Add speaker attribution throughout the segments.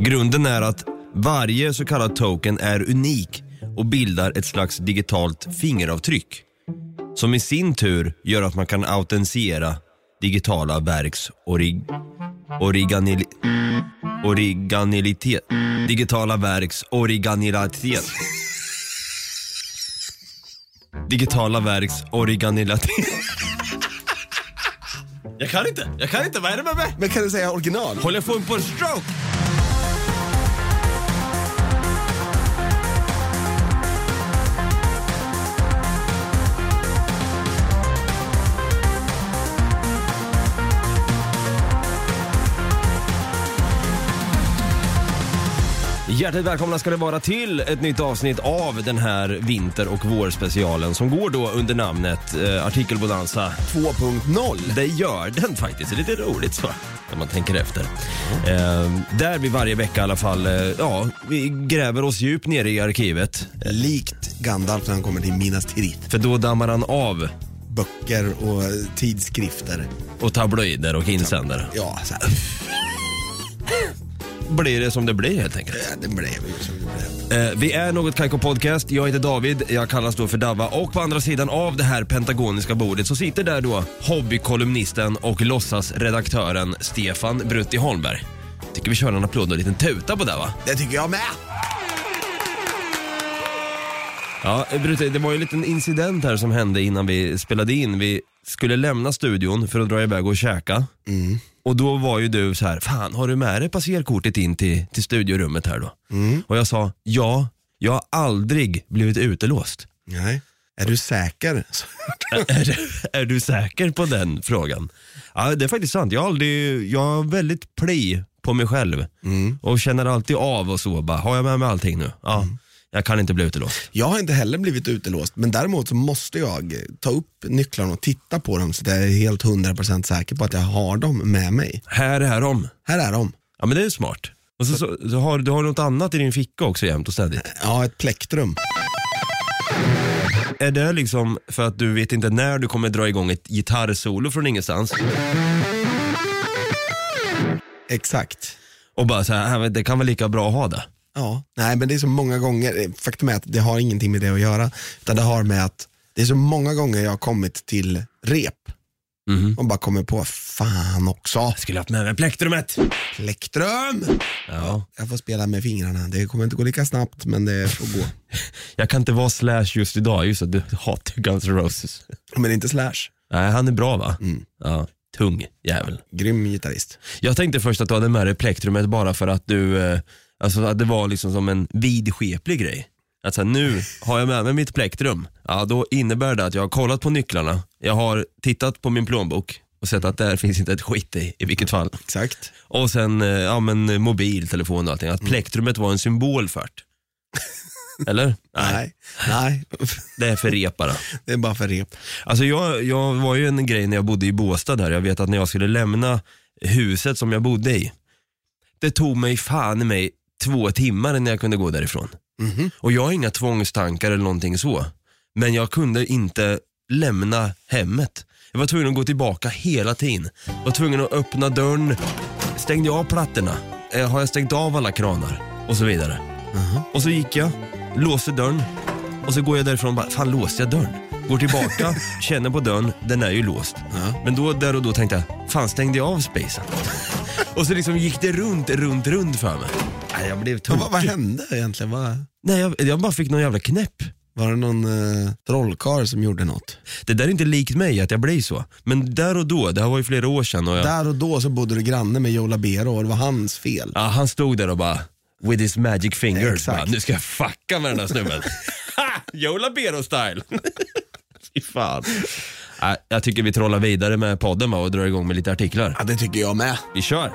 Speaker 1: Grunden är att varje så kallad token är unik och bildar ett slags digitalt fingeravtryck. Som i sin tur gör att man kan autentisera digitala verks orig, origanil, origanilitet. Digitala verks origanilitet. Digitala verks origanilitet. Jag kan inte, jag kan inte, vad är det med mig?
Speaker 2: Men kan du säga original?
Speaker 1: Håller jag på på en stroke? Hjärtligt välkomna ska det vara till ett nytt avsnitt av den här vinter och vårspecialen som går då under namnet eh, Artikelbonanza
Speaker 2: 2.0.
Speaker 1: Det gör den faktiskt. Det är lite roligt så, när man tänker efter. Eh, där vi varje vecka i alla fall, eh, ja, vi gräver oss djupt nere i arkivet. eh,
Speaker 2: Likt Gandalf när han kommer till Minas Tirith.
Speaker 1: För då dammar han av
Speaker 2: Böcker och eh, tidskrifter.
Speaker 1: och tabloider och insändare.
Speaker 2: Ja, så här.
Speaker 1: Blir det som det blir helt enkelt.
Speaker 2: Ja, Det blev ju som det blev.
Speaker 1: Eh, vi är Något Kaiko Podcast. Jag heter David, jag kallas då för Davva och på andra sidan av det här pentagoniska bordet så sitter där då hobbykolumnisten och låtsasredaktören Stefan Brutti Holmberg. Tycker vi kör en applåd och en liten tuta på det va?
Speaker 2: Det tycker jag med.
Speaker 1: Ja, Brute, det var ju en liten incident här som hände innan vi spelade in. Vi skulle lämna studion för att dra iväg och käka. Och då var ju du så här, fan har du med dig passerkortet in till, till studiorummet här då? Och jag sa, ja, jag har aldrig blivit utelåst.
Speaker 2: Nej. Är du säker?
Speaker 1: är, du- är du säker på den frågan? Ja, det är faktiskt sant. Jag har, aldrig, jag har väldigt pli på mig själv och känner alltid av och så. Bara, har jag med mig allting nu? Ja, jag kan inte bli utelåst.
Speaker 2: Jag har inte heller blivit utelåst, men däremot så måste jag ta upp nycklarna och titta på dem så att jag är helt 100% säker på att jag har dem med mig.
Speaker 1: Här är de.
Speaker 2: Här är de.
Speaker 1: Ja men det är ju smart. Och så, så, så har, du har något annat i din ficka också jämt och ständigt.
Speaker 2: Ja, ett plektrum.
Speaker 1: Är det liksom för att du vet inte när du kommer dra igång ett gitarrsolo från ingenstans
Speaker 2: Exakt.
Speaker 1: och bara så här, "Äh, men det kan väl lika bra att ha det.
Speaker 2: Ja, nej men det är så många gånger, Eh, faktum är att det har ingenting med det att göra, utan det har med att det är så många gånger jag har kommit till rep
Speaker 1: Mhm.
Speaker 2: och bara kommer på, fan också,
Speaker 1: Jag skulle haft med mig plektrumet.
Speaker 2: plektrum!
Speaker 1: Ja.
Speaker 2: Jag får spela med fingrarna, det kommer inte gå lika snabbt men det får gå.
Speaker 1: Jag kan inte vara Slash just idag, just att du hatar Guns N' Roses.
Speaker 2: Men inte Slash,
Speaker 1: Nej, han är bra va? Ja, tung jävel.
Speaker 2: grym gitarrist.
Speaker 1: Jag tänkte först att du hade med dig plektrumet bara för att du, eh, alltså att det var liksom som en vidskeplig grej. Att så här, nu har jag med mig mitt plektrum. Ja, då innebär det att jag har kollat på nycklarna, jag har tittat på min plånbok och sett att där finns inte ett skit i, i vilket fall.
Speaker 2: Exakt.
Speaker 1: Och sen, eh, ja men eh, mobil, telefon och allting. Att plektrumet var en symbol för det. Eller?
Speaker 2: Nej, nej,
Speaker 1: Det är för rep bara.
Speaker 2: det är bara för rep.
Speaker 1: Alltså jag, jag var ju en grej när jag bodde i Båstad där. Jag vet att när jag skulle lämna huset som jag bodde i. Det tog mig fan i mig två timmar innan jag kunde gå därifrån.
Speaker 2: Mhm.
Speaker 1: Och jag har inga tvångstankar eller någonting så. Men jag kunde inte lämna hemmet. Jag var tvungen att gå tillbaka hela tiden. Jag var tvungen att öppna dörren. Stängde jag av plattorna? Eh, Har jag stängt av alla kranar? Och så vidare. Och så gick jag, låste dörren och så går jag därifrån och bara, fan låste jag dörren? Går tillbaka, känner på dörren, den är ju låst.
Speaker 2: Ja.
Speaker 1: Men då, där och då tänkte jag, fan stängde jag av spacen? och så liksom gick det runt, runt, runt för mig. Nej, jag blev
Speaker 2: Men
Speaker 1: tokig.
Speaker 2: vad, vad hände egentligen? Vad,
Speaker 1: Nej, jag, jag bara fick någon jävla knäpp.
Speaker 2: var det någon eh, trollkarl som gjorde något?
Speaker 1: Det där är inte likt mig att jag blir så. Men där och då, det här var ju flera år sedan och jag,
Speaker 2: Där och då så bodde du granne med Joe Labero och det var hans fel.
Speaker 1: ja, han stod där och bara With his magic fingers,
Speaker 2: Exakt.
Speaker 1: bara, nu ska jag fucka med den här snubben. ha! Joe Labero style. Fy fan. Ja, jag tycker vi trollar vidare med podden va, och drar igång med lite artiklar.
Speaker 2: Ja, det tycker jag med.
Speaker 1: Vi kör!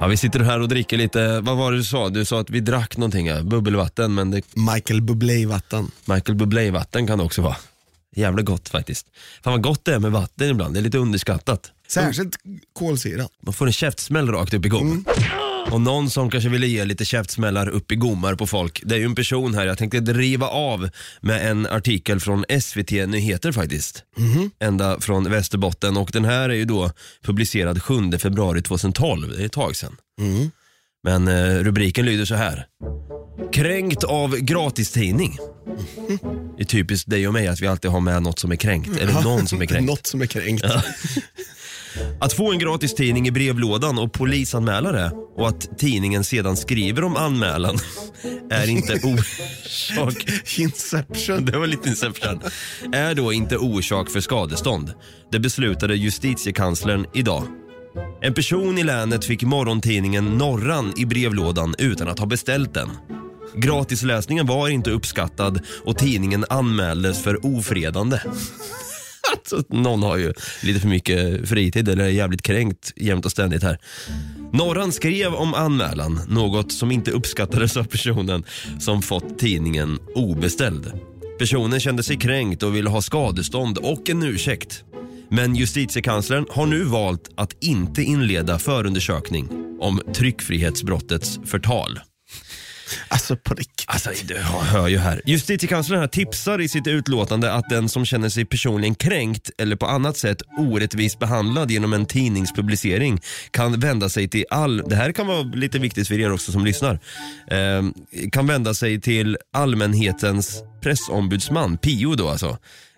Speaker 1: Ja, vi sitter här och dricker lite, vad var det du sa? Du sa att vi drack någonting, ja. bubbelvatten, men det
Speaker 2: Michael Bublé-vatten.
Speaker 1: Michael Bublé-vatten kan det också vara. Jävla gott faktiskt. Fan vad gott det är med vatten ibland, det är lite underskattat.
Speaker 2: Särskilt kolsyra.
Speaker 1: Man får en käftsmäll rakt upp i gången. Och någon som kanske ville ge lite käftsmällar upp i gommar på folk. Det är ju en person här, jag tänkte driva av med en artikel från SVT Nyheter faktiskt. Ända från Västerbotten och den här är ju då publicerad 7 februari 2012, det är ett tag sedan. Men eh, rubriken lyder så här. Kränkt av gratistidning. Det är typiskt dig och mig att vi alltid har med något som är kränkt, eller någon som är kränkt.
Speaker 2: Något som är kränkt.
Speaker 1: Att få en gratis tidning i brevlådan och polisanmäla det och att tidningen sedan skriver om anmälan är inte orsak.
Speaker 2: Inception.
Speaker 1: Det var lite inception. Är då inte orsak för skadestånd. Det beslutade justitiekanslern idag. En person i länet fick morgontidningen Norran i brevlådan utan att ha beställt den. Gratisläsningen var inte uppskattad och tidningen anmäldes för ofredande. Så att någon har ju lite för mycket fritid eller är jävligt kränkt jämt och ständigt här. Norran skrev om anmälan, något som inte uppskattades av personen som fått tidningen obeställd. Personen kände sig kränkt och ville ha skadestånd och en ursäkt. Men justitiekanslern har nu valt att inte inleda förundersökning om tryckfrihetsbrottets förtal.
Speaker 2: Alltså på riktigt.
Speaker 1: Alltså, du hör ju här. Justitiekanslern här tipsar i sitt utlåtande att den som känner sig personligen kränkt eller på annat sätt orättvist behandlad genom en tidningspublicering kan vända sig till all... Det här kan vara lite viktigt för er också som lyssnar. Eh, kan vända sig till allmänhetens pressombudsman, PO då alltså,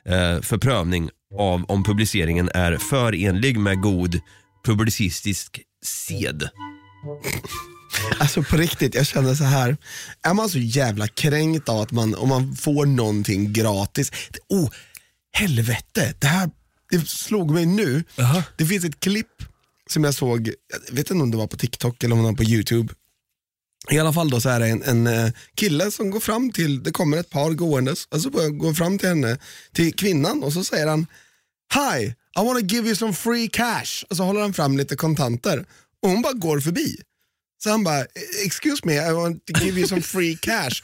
Speaker 1: eh, för prövning av om publiceringen är förenlig med god publicistisk sed.
Speaker 2: Alltså på riktigt, jag känner så här. Är man så jävla kränkt av att man, om man får någonting gratis. Det, oh, helvete, det här det slog mig nu.
Speaker 1: Jaha.
Speaker 2: Det finns ett klipp som jag såg, jag vet inte om det var på TikTok eller om det var på YouTube. I alla fall då så är det en, en eh, kille som går fram till, det kommer ett par gåendes, och så börjar- går fram till henne, till kvinnan och så säger han Hi, I wanna give you some free cash. Och så håller han fram lite kontanter och hon bara går förbi. Så han bara, "Eh, excuse me, I want to give you some free cash.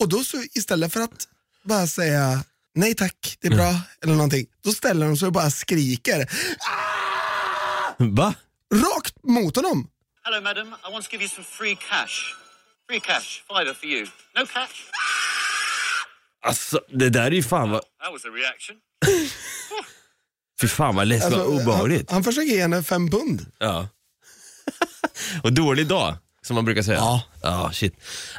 Speaker 2: Och då så istället för att bara säga nej tack, det är bra, eller någonting, då ställer de sig och bara skriker
Speaker 1: Va?
Speaker 2: rakt mot honom.
Speaker 3: Hello, madam. I want to give you some free cash. Free cash, fiver for you. No cash.
Speaker 1: Alltså, det där är ju fan vad...
Speaker 3: That was a reaction.
Speaker 1: Fy fan vad läskigt,
Speaker 2: Alltså,
Speaker 1: vad
Speaker 2: han,
Speaker 1: obehagligt.
Speaker 2: han försöker ge henne fem pund.
Speaker 1: Ja. och dålig dag, som man brukar säga.
Speaker 2: Ja.
Speaker 1: Ja, shit.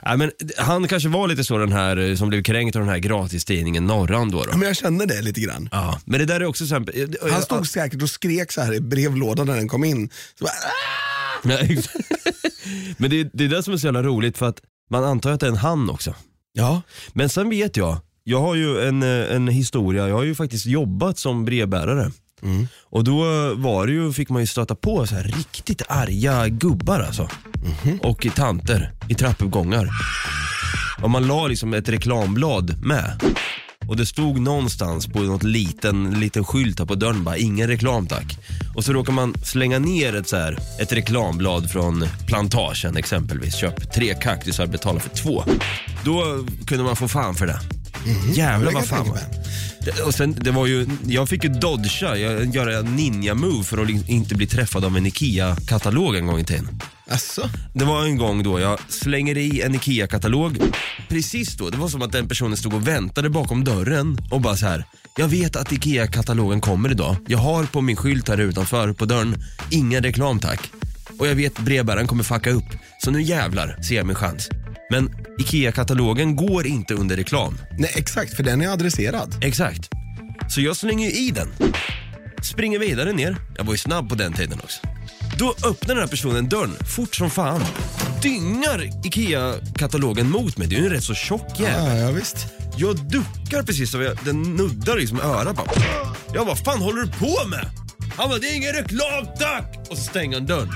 Speaker 1: Nej, men han kanske var lite så den här eh, som blev kränkt av den här gratistidningen Norran då. då.
Speaker 2: Ja, Men jag känner det lite grann.
Speaker 1: Ja, men det där är också så här, eh,
Speaker 2: Han
Speaker 1: eh,
Speaker 2: stod säkert och skrek så här i brevlådan när den kom in. Så bara, "Ah!"
Speaker 1: Nej, exakt. men det, det är det som är så jävla roligt för att man antar att det är en han också.
Speaker 2: ja.
Speaker 1: Men sen vet jag, jag har ju en, eh, en historia, jag har ju faktiskt jobbat som brevbärare. Och då eh, var det ju, fick man ju stöta på så här riktigt arga gubbar alltså. Och tanter i trappuppgångar. Och man la liksom ett reklamblad med. Och det stod någonstans på något liten, liten skylt här på dörren bara, ingen reklam tack. Och så råkar man slänga ner ett, så här, ett reklamblad från plantagen exempelvis. Köp tre kaktusar, betala för två. Då kunde man få fan för det. Jävlar vad
Speaker 2: Mhm. Det kan jag
Speaker 1: fan.
Speaker 2: tänka mig.
Speaker 1: Det- Och sen, det var ju, jag fick ju dodga, jag, göra en ninja-move för att li- inte bli träffad av en IKEA-katalog en gång i tiden.
Speaker 2: Alltså,
Speaker 1: Det var en gång då jag slänger i en IKEA-katalog. Precis då, det var som att den personen stod och väntade bakom dörren och bara så här. Jag vet att IKEA-katalogen kommer idag. Jag har på min skylt här utanför på dörren, ingen reklam tack. Och jag vet brevbäraren kommer fucka upp. Så nu jävlar ser jag min chans. Men IKEA-katalogen går inte under reklam.
Speaker 2: nej exakt, för den är adresserad.
Speaker 1: Exakt. Så jag slänger ju i den. Springer vidare ner. Jag var ju snabb på den tiden också. Då öppnar den här personen dörren fort som fan. Dyngar IKEA-katalogen mot mig. Det är ju en rätt så tjock jävel.
Speaker 2: Ja, ja visst.
Speaker 1: Jag duckar precis och jag, den nuddar liksom örat bara. Jag bara, fan håller du på med? Han bara, det är ingen reklam tack! Och så stänger han dörren.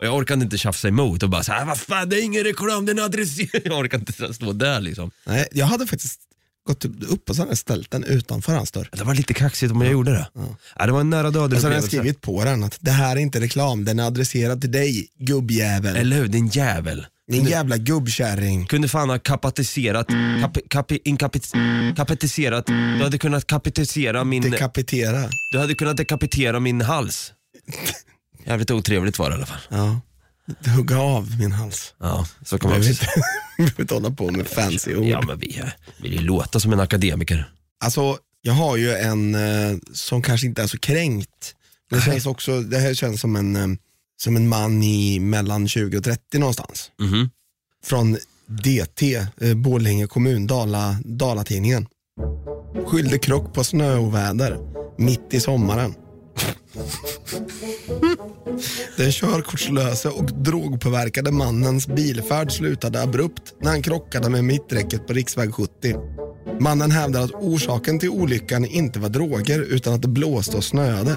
Speaker 1: Och jag orkade inte tjafsa emot och bara så här, vad fan det är ingen reklam, den är adresserad. Jag orkar inte stå där liksom.
Speaker 2: Nej, jag hade faktiskt gått upp och så hade jag ställt den utanför hans dörr.
Speaker 1: Det var lite kaxigt om jag gjorde det. Ja. det var en nära döden
Speaker 2: Och så hade jag
Speaker 1: upplevelse.
Speaker 2: skrivit på den att det här är inte reklam, den är adresserad till dig gubbjävel.
Speaker 1: Eller hur, din jävel.
Speaker 2: Din jävla gubbkärring.
Speaker 1: Kunde fan ha kapatiserat, kap, kap, inkapit, kapatiserat. Du hade kunnat kapitisera min,
Speaker 2: Dekapitera.
Speaker 1: du hade kunnat dekapitera min hals. Jävligt otrevligt var det i alla fall.
Speaker 2: Ja. Hugga av min hals.
Speaker 1: Ja, så kan
Speaker 2: Jag
Speaker 1: man
Speaker 2: vill
Speaker 1: också
Speaker 2: inte- jag vill inte hålla på med fancy ord.
Speaker 1: Ja, men vi eh, vill ju låta som en akademiker.
Speaker 2: Alltså, jag har ju en eh, som kanske inte är så kränkt. Men det känns också, det här känns som en, eh, som en man i mellan 20 och 30 någonstans.
Speaker 1: Mhm.
Speaker 2: Från DT, eh, Borlänge kommun, Dala, Dalatidningen. Skyllde krock på snöoväder mitt i sommaren. Den körkortslöse och drogpåverkade mannens bilfärd slutade abrupt när han krockade med mitträcket på riksväg 70. Mannen hävdar att orsaken till olyckan inte var droger utan att det blåste och snöade.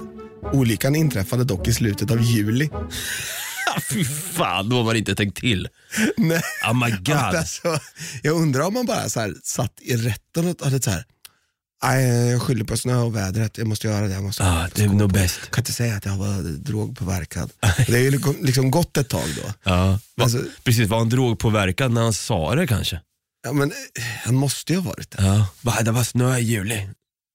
Speaker 2: Olyckan inträffade dock i slutet av juli.
Speaker 1: Fy fan, då har man inte tänkt till.
Speaker 2: Nej.
Speaker 1: Oh my god.
Speaker 2: Alltså, jag undrar om man bara så här, satt i rätten och hade så här, "Aj, jag skyller på snö och vädret, jag måste göra det. Jag måste
Speaker 1: Ja, Ah, det är nog bäst.
Speaker 2: Jag kan inte säga att jag var drogpåverkad. Det är ju liksom- liksom gått ett tag då.
Speaker 1: Ja. Va,
Speaker 2: Alltså-
Speaker 1: precis, var han drogpåverkad när han sa det kanske?
Speaker 2: Ja, men eh, han måste ju ha varit det.
Speaker 1: Ja. Va, det var snö i juli.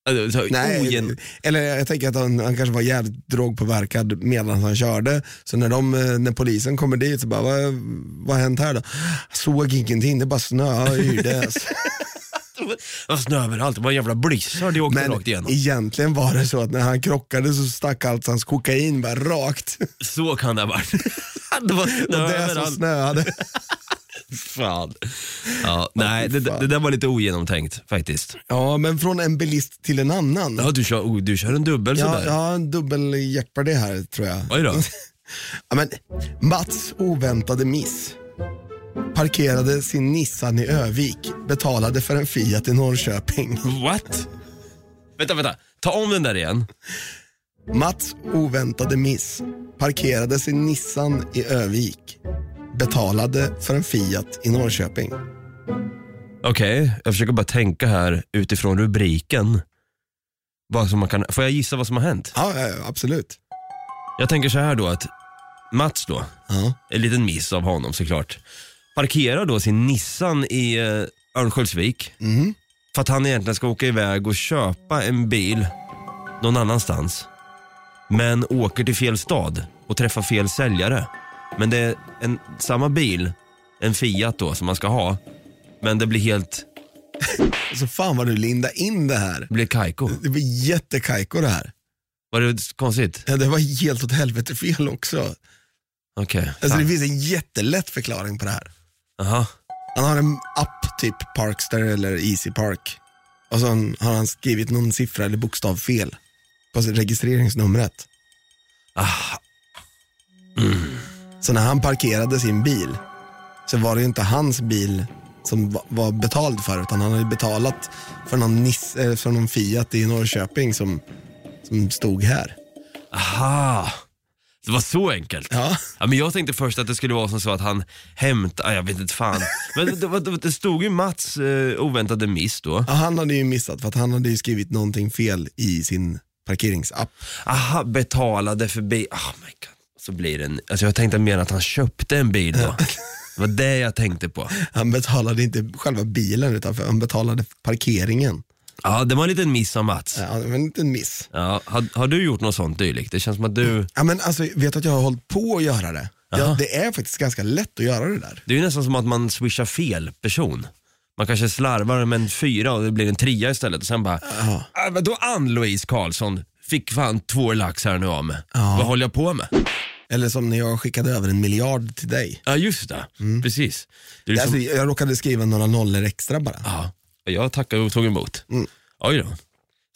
Speaker 1: Alltså, så,
Speaker 2: Nej,
Speaker 1: ogen...
Speaker 2: eller jag tänker att han, han kanske var jävligt drogpåverkad medan han körde. Så när, de, eh, när polisen kommer dit så bara, vad, vad har hänt här då? Såg ingenting, det bara snö, alltså." yrde.
Speaker 1: Det var snö överallt, det var en jävla blizzard det åkte
Speaker 2: Men
Speaker 1: rakt igenom.
Speaker 2: egentligen var det så att när han krockade så stack allt hans kokain bara rakt.
Speaker 1: Så kan det ha varit. det var snö
Speaker 2: Och det som
Speaker 1: överallt.
Speaker 2: snöade.
Speaker 1: Fan. Ja, nej, det, det där var lite ogenomtänkt faktiskt.
Speaker 2: Ja, men från en bilist till en annan.
Speaker 1: Ja, du, kör, oh, du kör en dubbel
Speaker 2: Ja,
Speaker 1: sådär.
Speaker 2: jag har en dubbeljeopardy här tror jag.
Speaker 1: Oj då.
Speaker 2: Ja, men, Mats oväntade miss. Parkerade sin Nissan i Övik, betalade för en Fiat i Norrköping.
Speaker 1: What? Vänta, vänta. Ta om den där igen.
Speaker 2: Mats oväntade miss. Parkerade sin Nissan i Övik, betalade för en Fiat i Norrköping.
Speaker 1: Okej, jag försöker bara tänka här utifrån rubriken. Vad som man kan, får jag gissa vad som har hänt?
Speaker 2: Ja, ja, ja, absolut.
Speaker 1: Jag tänker så här då att Mats då,
Speaker 2: Ja.
Speaker 1: en liten miss av honom såklart, parkerar då sin Nissan i eh, Örnsköldsvik
Speaker 2: Mhm.
Speaker 1: för att han egentligen ska åka iväg och köpa en bil någon annanstans. Men åker till fel stad och träffar fel säljare. Men det är en, samma bil, en Fiat då som man ska ha. Men det blir helt,
Speaker 2: Så fan vad du linda in det här.
Speaker 1: det blir kajko.
Speaker 2: Det var jättekajko det här.
Speaker 1: Var det konstigt?
Speaker 2: Ja, det var helt åt helvete fel också.
Speaker 1: Okej.
Speaker 2: Alltså, det finns en jättelätt förklaring på det här.
Speaker 1: Jaha.
Speaker 2: Han har en app, typ Parkster eller Easy Park. Och så har han skrivit någon siffra eller bokstav fel på sitt registreringsnumret. Mm.
Speaker 1: Ah,
Speaker 2: Så när han parkerade sin bil så var det ju inte hans bil som va- var betald för utan han hade ju betalat för någon, Nis- eh, för någon Fiat i Norrköping som, som stod här.
Speaker 1: aha. Det var så enkelt.
Speaker 2: Ja.
Speaker 1: Ja, men jag tänkte först att det skulle vara som så att han hämtade, ah, jag vet inte fan. Men det, det, det, det stod ju Mats eh, oväntade miss då.
Speaker 2: ja, han hade ju missat för att han hade ju skrivit någonting fel i sin parkeringsapp.
Speaker 1: Aha, betalade för bil. Oh my God. Så blir det en, alltså jag tänkte mer att han köpte en bil då. Det var det jag tänkte på.
Speaker 2: Han betalade inte själva bilen utan för- han betalade parkeringen.
Speaker 1: Ja, det var en liten miss av Mats.
Speaker 2: Ja, det var en liten miss.
Speaker 1: Ja, har, har du gjort något sånt dylikt? Det känns som att du,
Speaker 2: Ja, men alltså, vet du att jag har hållit på att göra det? Ja,
Speaker 1: Jaha.
Speaker 2: det är faktiskt ganska lätt att göra det där.
Speaker 1: det är ju nästan som att man swishar fel person. Man kanske slarvar med en fyra och det blir en trea istället och sen bara,
Speaker 2: Ja.
Speaker 1: Ah, vadå Ann-Louise Karlsson? Fick fan två lax här nu av mig.
Speaker 2: Ja.
Speaker 1: Vad håller jag på med?
Speaker 2: Eller som när jag skickade över en miljard till dig.
Speaker 1: Ja, just det.
Speaker 2: Mm.
Speaker 1: Precis. Det är liksom,
Speaker 2: Alltså, jag råkade skriva några nollor extra bara.
Speaker 1: ja, jag tackade och tog emot.
Speaker 2: Mm.
Speaker 1: Oj då.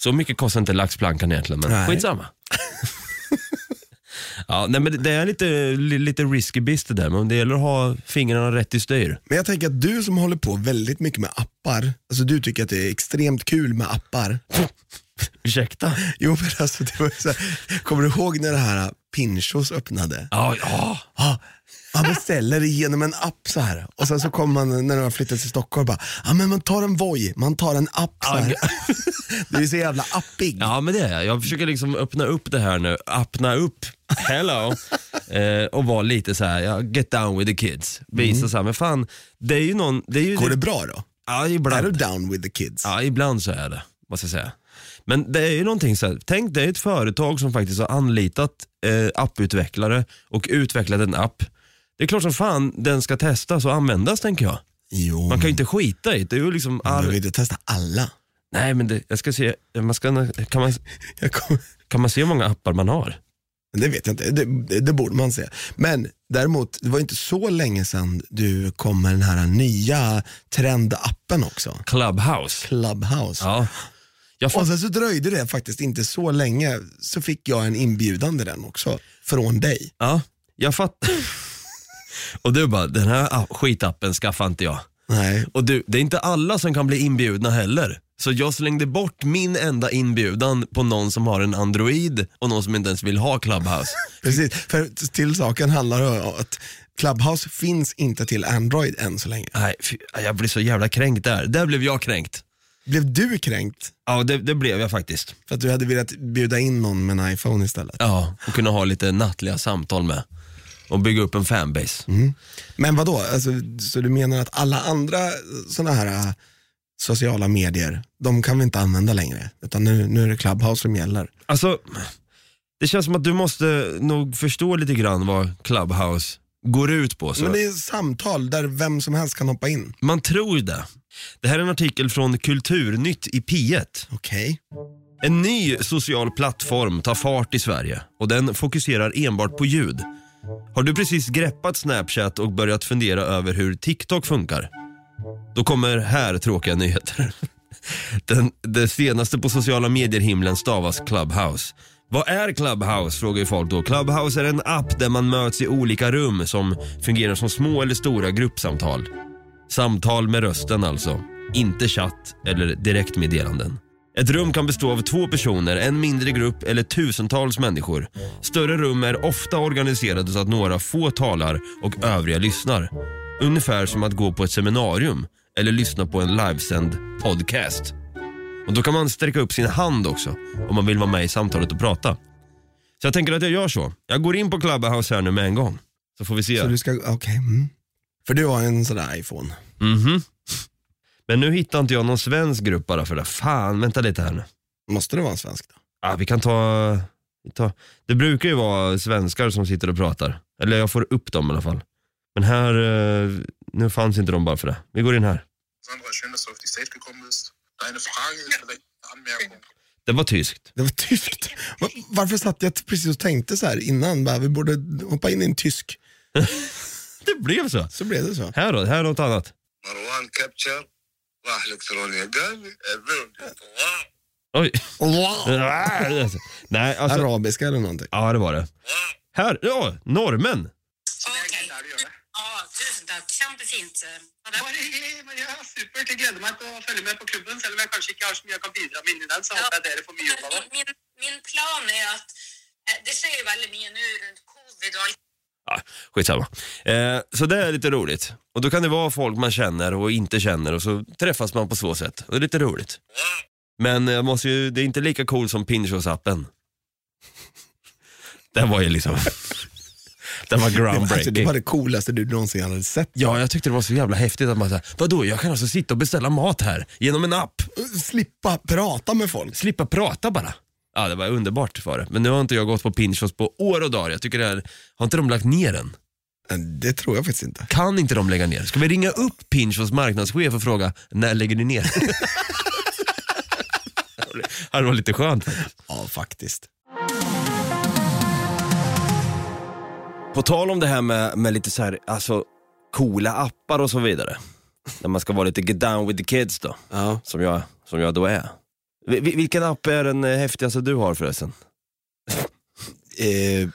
Speaker 1: Så mycket kostar inte laxplankan egentligen, men
Speaker 2: Nej.
Speaker 1: skitsamma. ja, nej, men det- det är lite, li- lite risky business det där, men det gäller att ha fingrarna rätt i styr.
Speaker 2: Men jag tänker att du som håller på väldigt mycket med appar, alltså du tycker att det är extremt kul med appar.
Speaker 1: Ursäkta?
Speaker 2: Jo men alltså, det var ju så här, kommer du ihåg när det här Pinchos öppnade?
Speaker 1: Ja, ja.
Speaker 2: Ja, man beställer genom en app så här och sen så kommer man när man har flyttat till Stockholm bara, ja men man tar en Voi, man tar en app så här. Du är så jävla appig.
Speaker 1: Ja, men det är jag. Jag försöker liksom öppna upp det här nu. Öppna upp, hello. eh, och vara lite så här, ja, get down with the kids. Visa så här, men fan, det är ju någon... Det är ju
Speaker 2: Mm. Går det bra då?
Speaker 1: Ja,
Speaker 2: Är du
Speaker 1: ibland.
Speaker 2: down with the kids?
Speaker 1: Ja, ibland så är det, vad ska jag säga. Men det är ju någonting så här, tänk dig ett företag som faktiskt har anlitat eh, apputvecklare och utvecklat en app Det är klart som fan den ska testas och användas tänker jag.
Speaker 2: Jo,
Speaker 1: Man kan ju inte skita i det. Det är ju liksom
Speaker 2: men vi
Speaker 1: all...
Speaker 2: vill inte testa alla.
Speaker 1: Nej men det, jag ska se, man ska, kan, man,
Speaker 2: Jag kommer...
Speaker 1: kan man se hur många appar man har?
Speaker 2: Men Det vet jag inte, det, det, det borde man se. Men däremot, det var inte så länge sedan du kom med den här nya trendappen också.
Speaker 1: Clubhouse.
Speaker 2: Clubhouse.
Speaker 1: Ja. Jag
Speaker 2: Och sen så dröjde det faktiskt inte så länge, så fick jag en inbjudan till den också, från dig.
Speaker 1: Ja, jag fattar. Och du bara, den här app- skitappen skaffar inte jag.
Speaker 2: Nej.
Speaker 1: Och du, det är inte alla som kan bli inbjudna heller. Så jag slängde bort min enda inbjudan på någon som har en Android och någon som inte ens vill ha Clubhouse.
Speaker 2: Precis, för till saken handlar det om att Clubhouse finns inte till Android än så länge.
Speaker 1: Nej, fy, jag blev så jävla kränkt där. Där blev jag kränkt.
Speaker 2: Blev du kränkt
Speaker 1: Ja, det, det blev jag faktiskt.
Speaker 2: för att du hade velat bjuda in någon med en iPhone istället?
Speaker 1: Ja, och kunna ha lite nattliga samtal med. Och bygga upp en fanbase.
Speaker 2: Men vad då? Alltså, så du menar att alla andra sådana här äh, sociala medier, de kan vi inte använda längre? Utan nu, nu är det Clubhouse som gäller.
Speaker 1: Alltså, det känns som att du måste nog förstå lite grann vad Clubhouse går ut på. Så.
Speaker 2: Men det är samtal där vem som helst kan hoppa in.
Speaker 1: Man tror det. Det här är en artikel från Kulturnytt i P1.
Speaker 2: Okej.
Speaker 1: En ny social plattform tar fart i Sverige och den fokuserar enbart på ljud. Har du precis greppat Snapchat och börjat fundera över hur TikTok funkar? Då kommer här tråkiga nyheter. Den, det senaste på sociala medier-himlen stavas Clubhouse. Vad är Clubhouse? frågar ju folk då. Clubhouse är en app där man möts i olika rum som fungerar som små eller stora gruppsamtal. Samtal med rösten alltså, inte chatt eller direktmeddelanden. Ett rum kan bestå av två personer, en mindre grupp eller tusentals människor. Större rum är ofta organiserade så att några få talar och övriga lyssnar. Ungefär som att gå på ett seminarium eller lyssna på en livesänd podcast. Och då kan man sträcka upp sin hand också om man vill vara med i samtalet och prata. Så jag tänker att jag gör så. Jag går in på Clubhouse här nu med en gång. Så får vi se.
Speaker 2: Så du ska, okej. mm. För du har en sån där iPhone.
Speaker 1: Mhm. Men nu hittar inte jag någon svensk grupp bara för det. Fan, vänta lite här nu.
Speaker 2: Måste det vara en svensk då?
Speaker 1: Ah, vi kan ta, vi tar, det brukar ju vara svenskar som sitter och pratar. Eller jag får upp dem i alla fall. Men här, eh, nu fanns inte de bara för det. Vi går in här.
Speaker 4: Sandra, schön, dass du auf die State gekommen bist. Deine Frage ist vielleicht eine Anmerkung.
Speaker 1: Det var tyskt.
Speaker 2: Det var tyskt. Va- Varför satt jag precis och tänkte så här innan? Bara, vi borde hoppa in i en tysk.
Speaker 1: Det blev så.
Speaker 2: Så blev det så.
Speaker 1: Här då, här är något annat.
Speaker 4: Marwan Capture راح الكترونيا قال
Speaker 1: Oj.
Speaker 2: Alltså-
Speaker 1: Ah. Nej, alltså.
Speaker 2: Arabiska eller någonting.
Speaker 1: Ja, det var det. Här, ja, normen.
Speaker 5: Ja, tusen takk. Kjempefint. Ha det.
Speaker 4: men ja, supert. Jeg gleder meg til å følge med på klubben. Selv om jeg kanskje ikke har så mye jeg kan bidra med inni den, så håper jeg dere får mye ut av det.
Speaker 5: Min, min plan er at eh, Det skjer jo veldig mye nå rundt covid og alt
Speaker 1: Ah, skitsamma. Eh, så det är lite roligt. Och då kan det vara folk man känner och inte känner och så träffas man på så sätt. Och det är lite roligt. Men jag måste ju, det är inte lika cool som Pinchos-appen. Den var ju liksom... den var
Speaker 2: Det var, alltså, det
Speaker 1: groundbreaking.
Speaker 2: var det coolaste du någonsin hade sett.
Speaker 1: Ja, jag tyckte det var så jävla häftigt att man sa, vadå, jag kan alltså sitta och beställa mat här genom en app.
Speaker 2: Slippa prata med folk.
Speaker 1: Slippa prata bara. Ja, det var underbart var det. Men nu har inte jag gått på Pinchos på år och dagar. Jag tycker det här, har inte de lagt ner den?
Speaker 2: Det tror jag faktiskt inte.
Speaker 1: kan inte de lägga ner. Ska vi ringa upp Pinchos marknadschef och fråga, när lägger ni ner? det var lite skönt.
Speaker 2: Ja, faktiskt.
Speaker 1: På tal om det här med, med lite så här, alltså coola appar och så vidare. När man ska vara lite get down with the kids då,
Speaker 2: Ja.
Speaker 1: som jag, som jag då är. Vi- vi- vilken app är den eh, häftigaste du har förresten?
Speaker 2: Eh,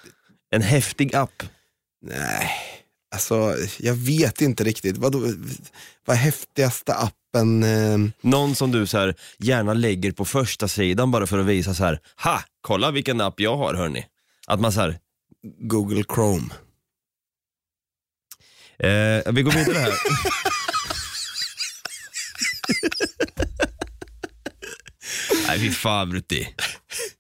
Speaker 1: En häftig app.
Speaker 2: nej, alltså jag vet inte riktigt. Vad, vad häftigaste appen? Eh,
Speaker 1: Någon som du så här, gärna lägger på första sidan bara för att visa så här, ha, kolla vilken app jag har hörni. Att man så här,
Speaker 2: Google Chrome.
Speaker 1: Eh, vi går vidare här. Nej fy fan Brutti.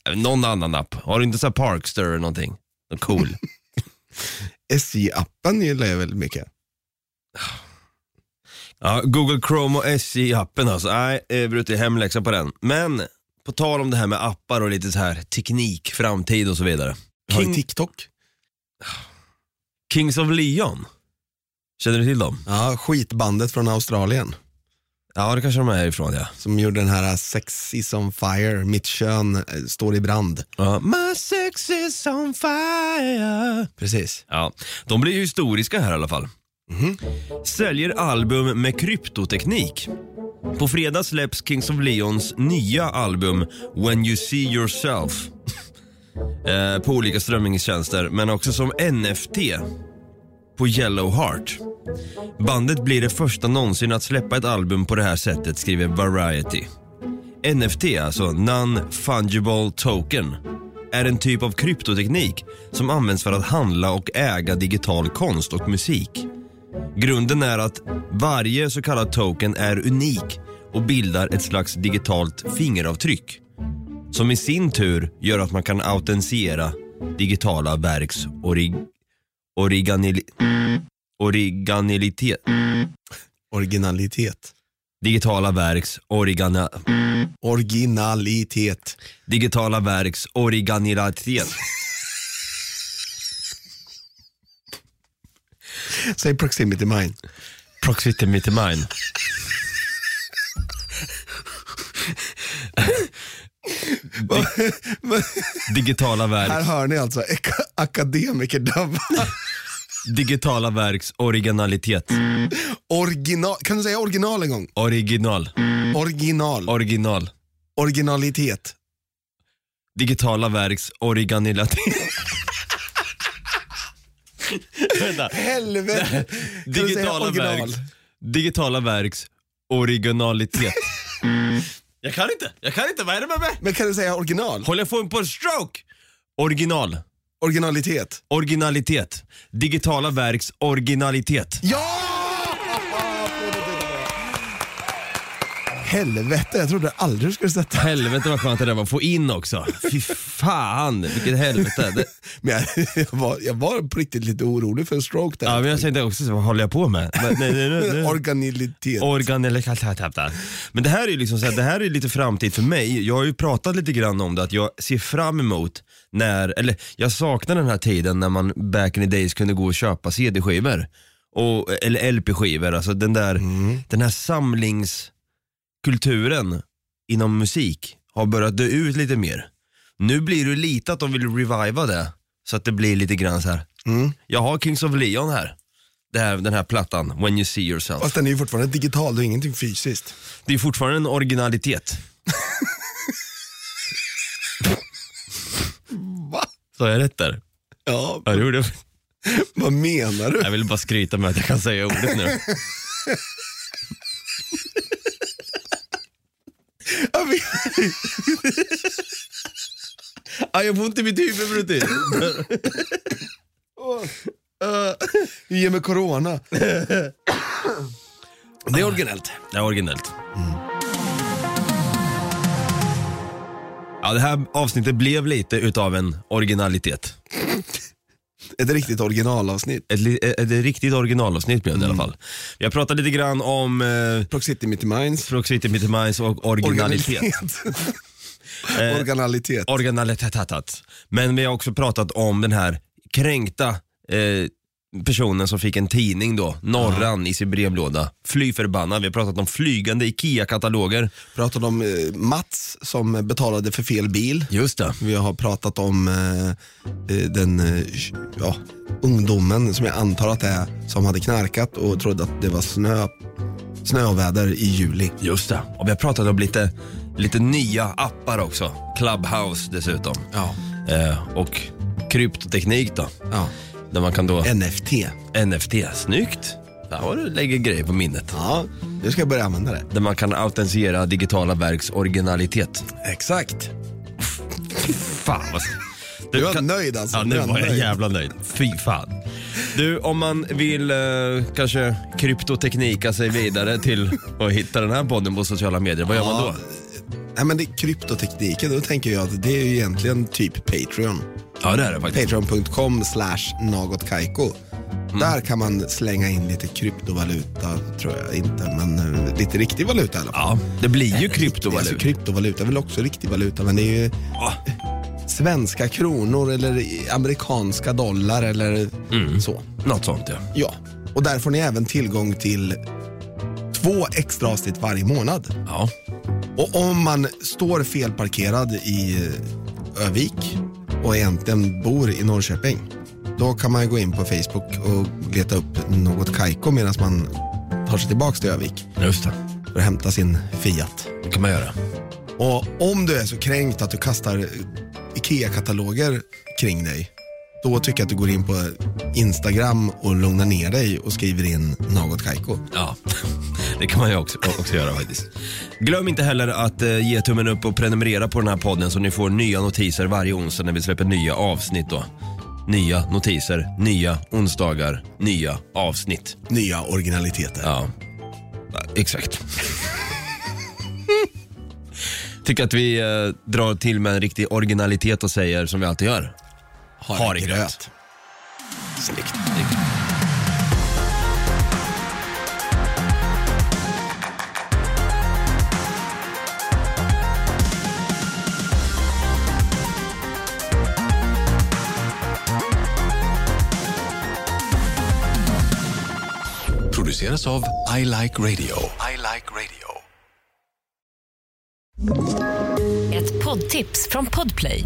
Speaker 1: Eh, Någon annan app. Har du inte så här Parkster eller någonting? Någon cool.
Speaker 2: SJ-appen gillar jag väldigt mycket.
Speaker 1: ja, Google Chrome och SJ-appen alltså. Nej, eh, Brutti hemläxa på den. Men på tal om det här med appar och lite så här teknik, framtid och så vidare.
Speaker 2: Har ju
Speaker 1: King-
Speaker 2: TikTok.
Speaker 1: Kings of Leon. Känner du till dem?
Speaker 2: Ja, skitbandet från Australien
Speaker 1: Ja, det kanske de är ifrån ja.
Speaker 2: som gjorde den här Sex is on fire, mitt kön eh, står i brand.
Speaker 1: ja. My sex is on fire.
Speaker 2: Precis.
Speaker 1: Ja, de blir ju historiska här i alla fall. Mhm. Säljer album med kryptoteknik. På fredag släpps Kings of Leons nya album When You See Yourself. eh, på olika strömningstjänster, men också som NFT på Yellow Heart. Bandet blir det första någonsin att släppa ett album på det här sättet, skriver Variety. NFT, alltså Non-Fungible Token, är en typ av kryptoteknik som används för att handla och äga digital konst och musik. Grunden är att varje så kallad token är unik och bildar ett slags digitalt fingeravtryck som i sin tur gör att man kan autentisera digitala verks orig, origanil, origanilitet.
Speaker 2: Originalitet.
Speaker 1: Digitala verks origana,
Speaker 2: Originalitet.
Speaker 1: digitala verks originalitet.
Speaker 2: Säg proximity mine.
Speaker 1: Proximity mine. digitala
Speaker 2: Här
Speaker 1: verk,
Speaker 2: hör ni alltså ek- akademikerdubb.
Speaker 1: digitala verks originalitet.
Speaker 2: Original, kan du säga original en gång?
Speaker 1: Original,
Speaker 2: Original.
Speaker 1: original.
Speaker 2: Originalitet.
Speaker 1: Digitala verks originalitet. Vänta.
Speaker 2: Helvete. Kan du säga
Speaker 1: Digitala
Speaker 2: original?
Speaker 1: verks, digitala verks originalitet. Jag kan inte, jag kan inte, vad är det med mig?
Speaker 2: Men kan du säga original?
Speaker 1: Håller jag på att få en stroke? Original.
Speaker 2: Originalitet.
Speaker 1: Originalitet. Digitala verks originalitet.
Speaker 2: Ja! Helvete, jag trodde aldrig du skulle sätta
Speaker 1: Helvete vad skönt det där var att få in också. Fy fan, vilket helvete. Det,
Speaker 2: Men jag, jag, var, jag var på riktigt lite orolig för en stroke där.
Speaker 1: ja, men jag tänkte också, så, vad håller jag på med? Men, nej, nej, nej, nej.
Speaker 2: Organilitet.
Speaker 1: Organ eller kattatata. Men det här är ju liksom så här, det här är lite framtid för mig. Jag har ju pratat lite grann om det att jag ser fram emot när, eller jag saknar den här tiden när man back in the days kunde gå och köpa CD-skivor. Och, eller LP-skivor, alltså den där, den här samlingskulturen inom musik har börjat dö ut lite mer. Nu blir det lite att de vill reviva det, så att det blir lite grann så här. jag har Kings of Leon här. Det här, den här plattan, When You See Yourself.
Speaker 2: Fast den är ju fortfarande digital, det är ingenting fysiskt.
Speaker 1: Det är fortfarande en originalitet.
Speaker 2: Va?
Speaker 1: Så jag rätt där?
Speaker 2: Ja,
Speaker 1: Ja, det gjorde jag.
Speaker 2: vad menar du?
Speaker 1: Jag ville bara skryta med att jag kan säga ordet nu.
Speaker 2: Jag vet.
Speaker 1: Ah, jag får inte mitt huvud typ. brutit.
Speaker 2: Du ger mig corona.
Speaker 1: Det är originellt. Det är originellt. Ja, det här avsnittet blev lite utav en originalitet.
Speaker 2: Ett riktigt originalavsnitt.
Speaker 1: Ett, li- ett, ett riktigt originalavsnitt blev det i alla fall. Jag pratade lite grann om eh,
Speaker 2: Proximity Mitty Minds.
Speaker 1: Proximity Mitt Minds och originalitet. Eh,
Speaker 2: Originalitet.
Speaker 1: originalitet. Men vi har också pratat om den här kränkta eh, personen som fick en tidning då, Norran, i sin brevlåda. Fly förbannad. Vi har pratat om flygande IKEA-kataloger.
Speaker 2: Pratade om eh, Mats som betalade för fel bil.
Speaker 1: Just det.
Speaker 2: Vi har pratat om eh, eh, den eh, ja, ungdomen som jag antar att det är som hade knarkat och trodde att det var snö, snöväder i juli.
Speaker 1: Just det. Och vi har pratat om lite, lite nya appar också. Clubhouse dessutom.
Speaker 2: Ja.
Speaker 1: Eh, och kryptoteknik då.
Speaker 2: ja.
Speaker 1: Där man kan då...
Speaker 2: NFT.
Speaker 1: NFT. Snyggt! Där har du lägger grejer på minnet.
Speaker 2: Ja, nu ska jag börja använda det.
Speaker 1: Där man kan autentisera digitala verks originalitet.
Speaker 2: Exakt.
Speaker 1: Fan vad...
Speaker 2: Du var nöjd alltså.
Speaker 1: Ja,
Speaker 2: Du
Speaker 1: nu
Speaker 2: var
Speaker 1: var jag
Speaker 2: nöjd.
Speaker 1: jävla nöjd. Fy fan. Du, om man vill eh, kanske kryptoteknika sig vidare till att hitta den här podden på sociala medier, vad gör man då?
Speaker 2: Nej, men det är kryptotekniken, då tänker jag att det är ju egentligen typ Patreon.
Speaker 1: Ja, det är det faktiskt.
Speaker 2: Patreon.com slash nagotkaiko. Där kan man slänga in lite kryptovaluta, tror jag inte, men eh, lite riktig valuta i alla fall.
Speaker 1: Ja, det blir ju
Speaker 2: Alltså,
Speaker 1: kryptovaluta.
Speaker 2: kryptovaluta är väl också riktig valuta, men det är ju
Speaker 1: Ja,
Speaker 2: svenska kronor eller i amerikanska dollar eller så.
Speaker 1: Något sånt ja.
Speaker 2: Ja, och där får ni även tillgång till två extra avsnitt varje månad.
Speaker 1: Ja.
Speaker 2: Och om man står felparkerad i Övik och egentligen bor i Norrköping, då kan man ju gå in på Facebook och leta upp något Kaiko medan man tar sig tillbaka till Övik
Speaker 1: Just det.
Speaker 2: för att hämta sin Fiat.
Speaker 1: Det kan man göra.
Speaker 2: Och om du är så kränkt att du kastar IKEA-kataloger kring dig, då tycker jag att du går in på Instagram och lugnar ner dig och skriver in något Kaiko.
Speaker 1: Ja, det kan man ju också, också göra faktiskt. Glöm inte heller att eh, ge tummen upp och prenumerera på den här podden så ni får nya notiser varje onsdag när vi släpper nya avsnitt då. Nya notiser, nya onsdagar, nya avsnitt.
Speaker 2: Nya originaliteter.
Speaker 1: Ja, ja exakt. Tycker att vi eh, drar till med en riktig originalitet och säger som vi alltid gör. Ha det gröt.
Speaker 2: Snyggt.
Speaker 6: Produceras av I Like Radio. I like radio.
Speaker 7: Ett poddtips från Podplay.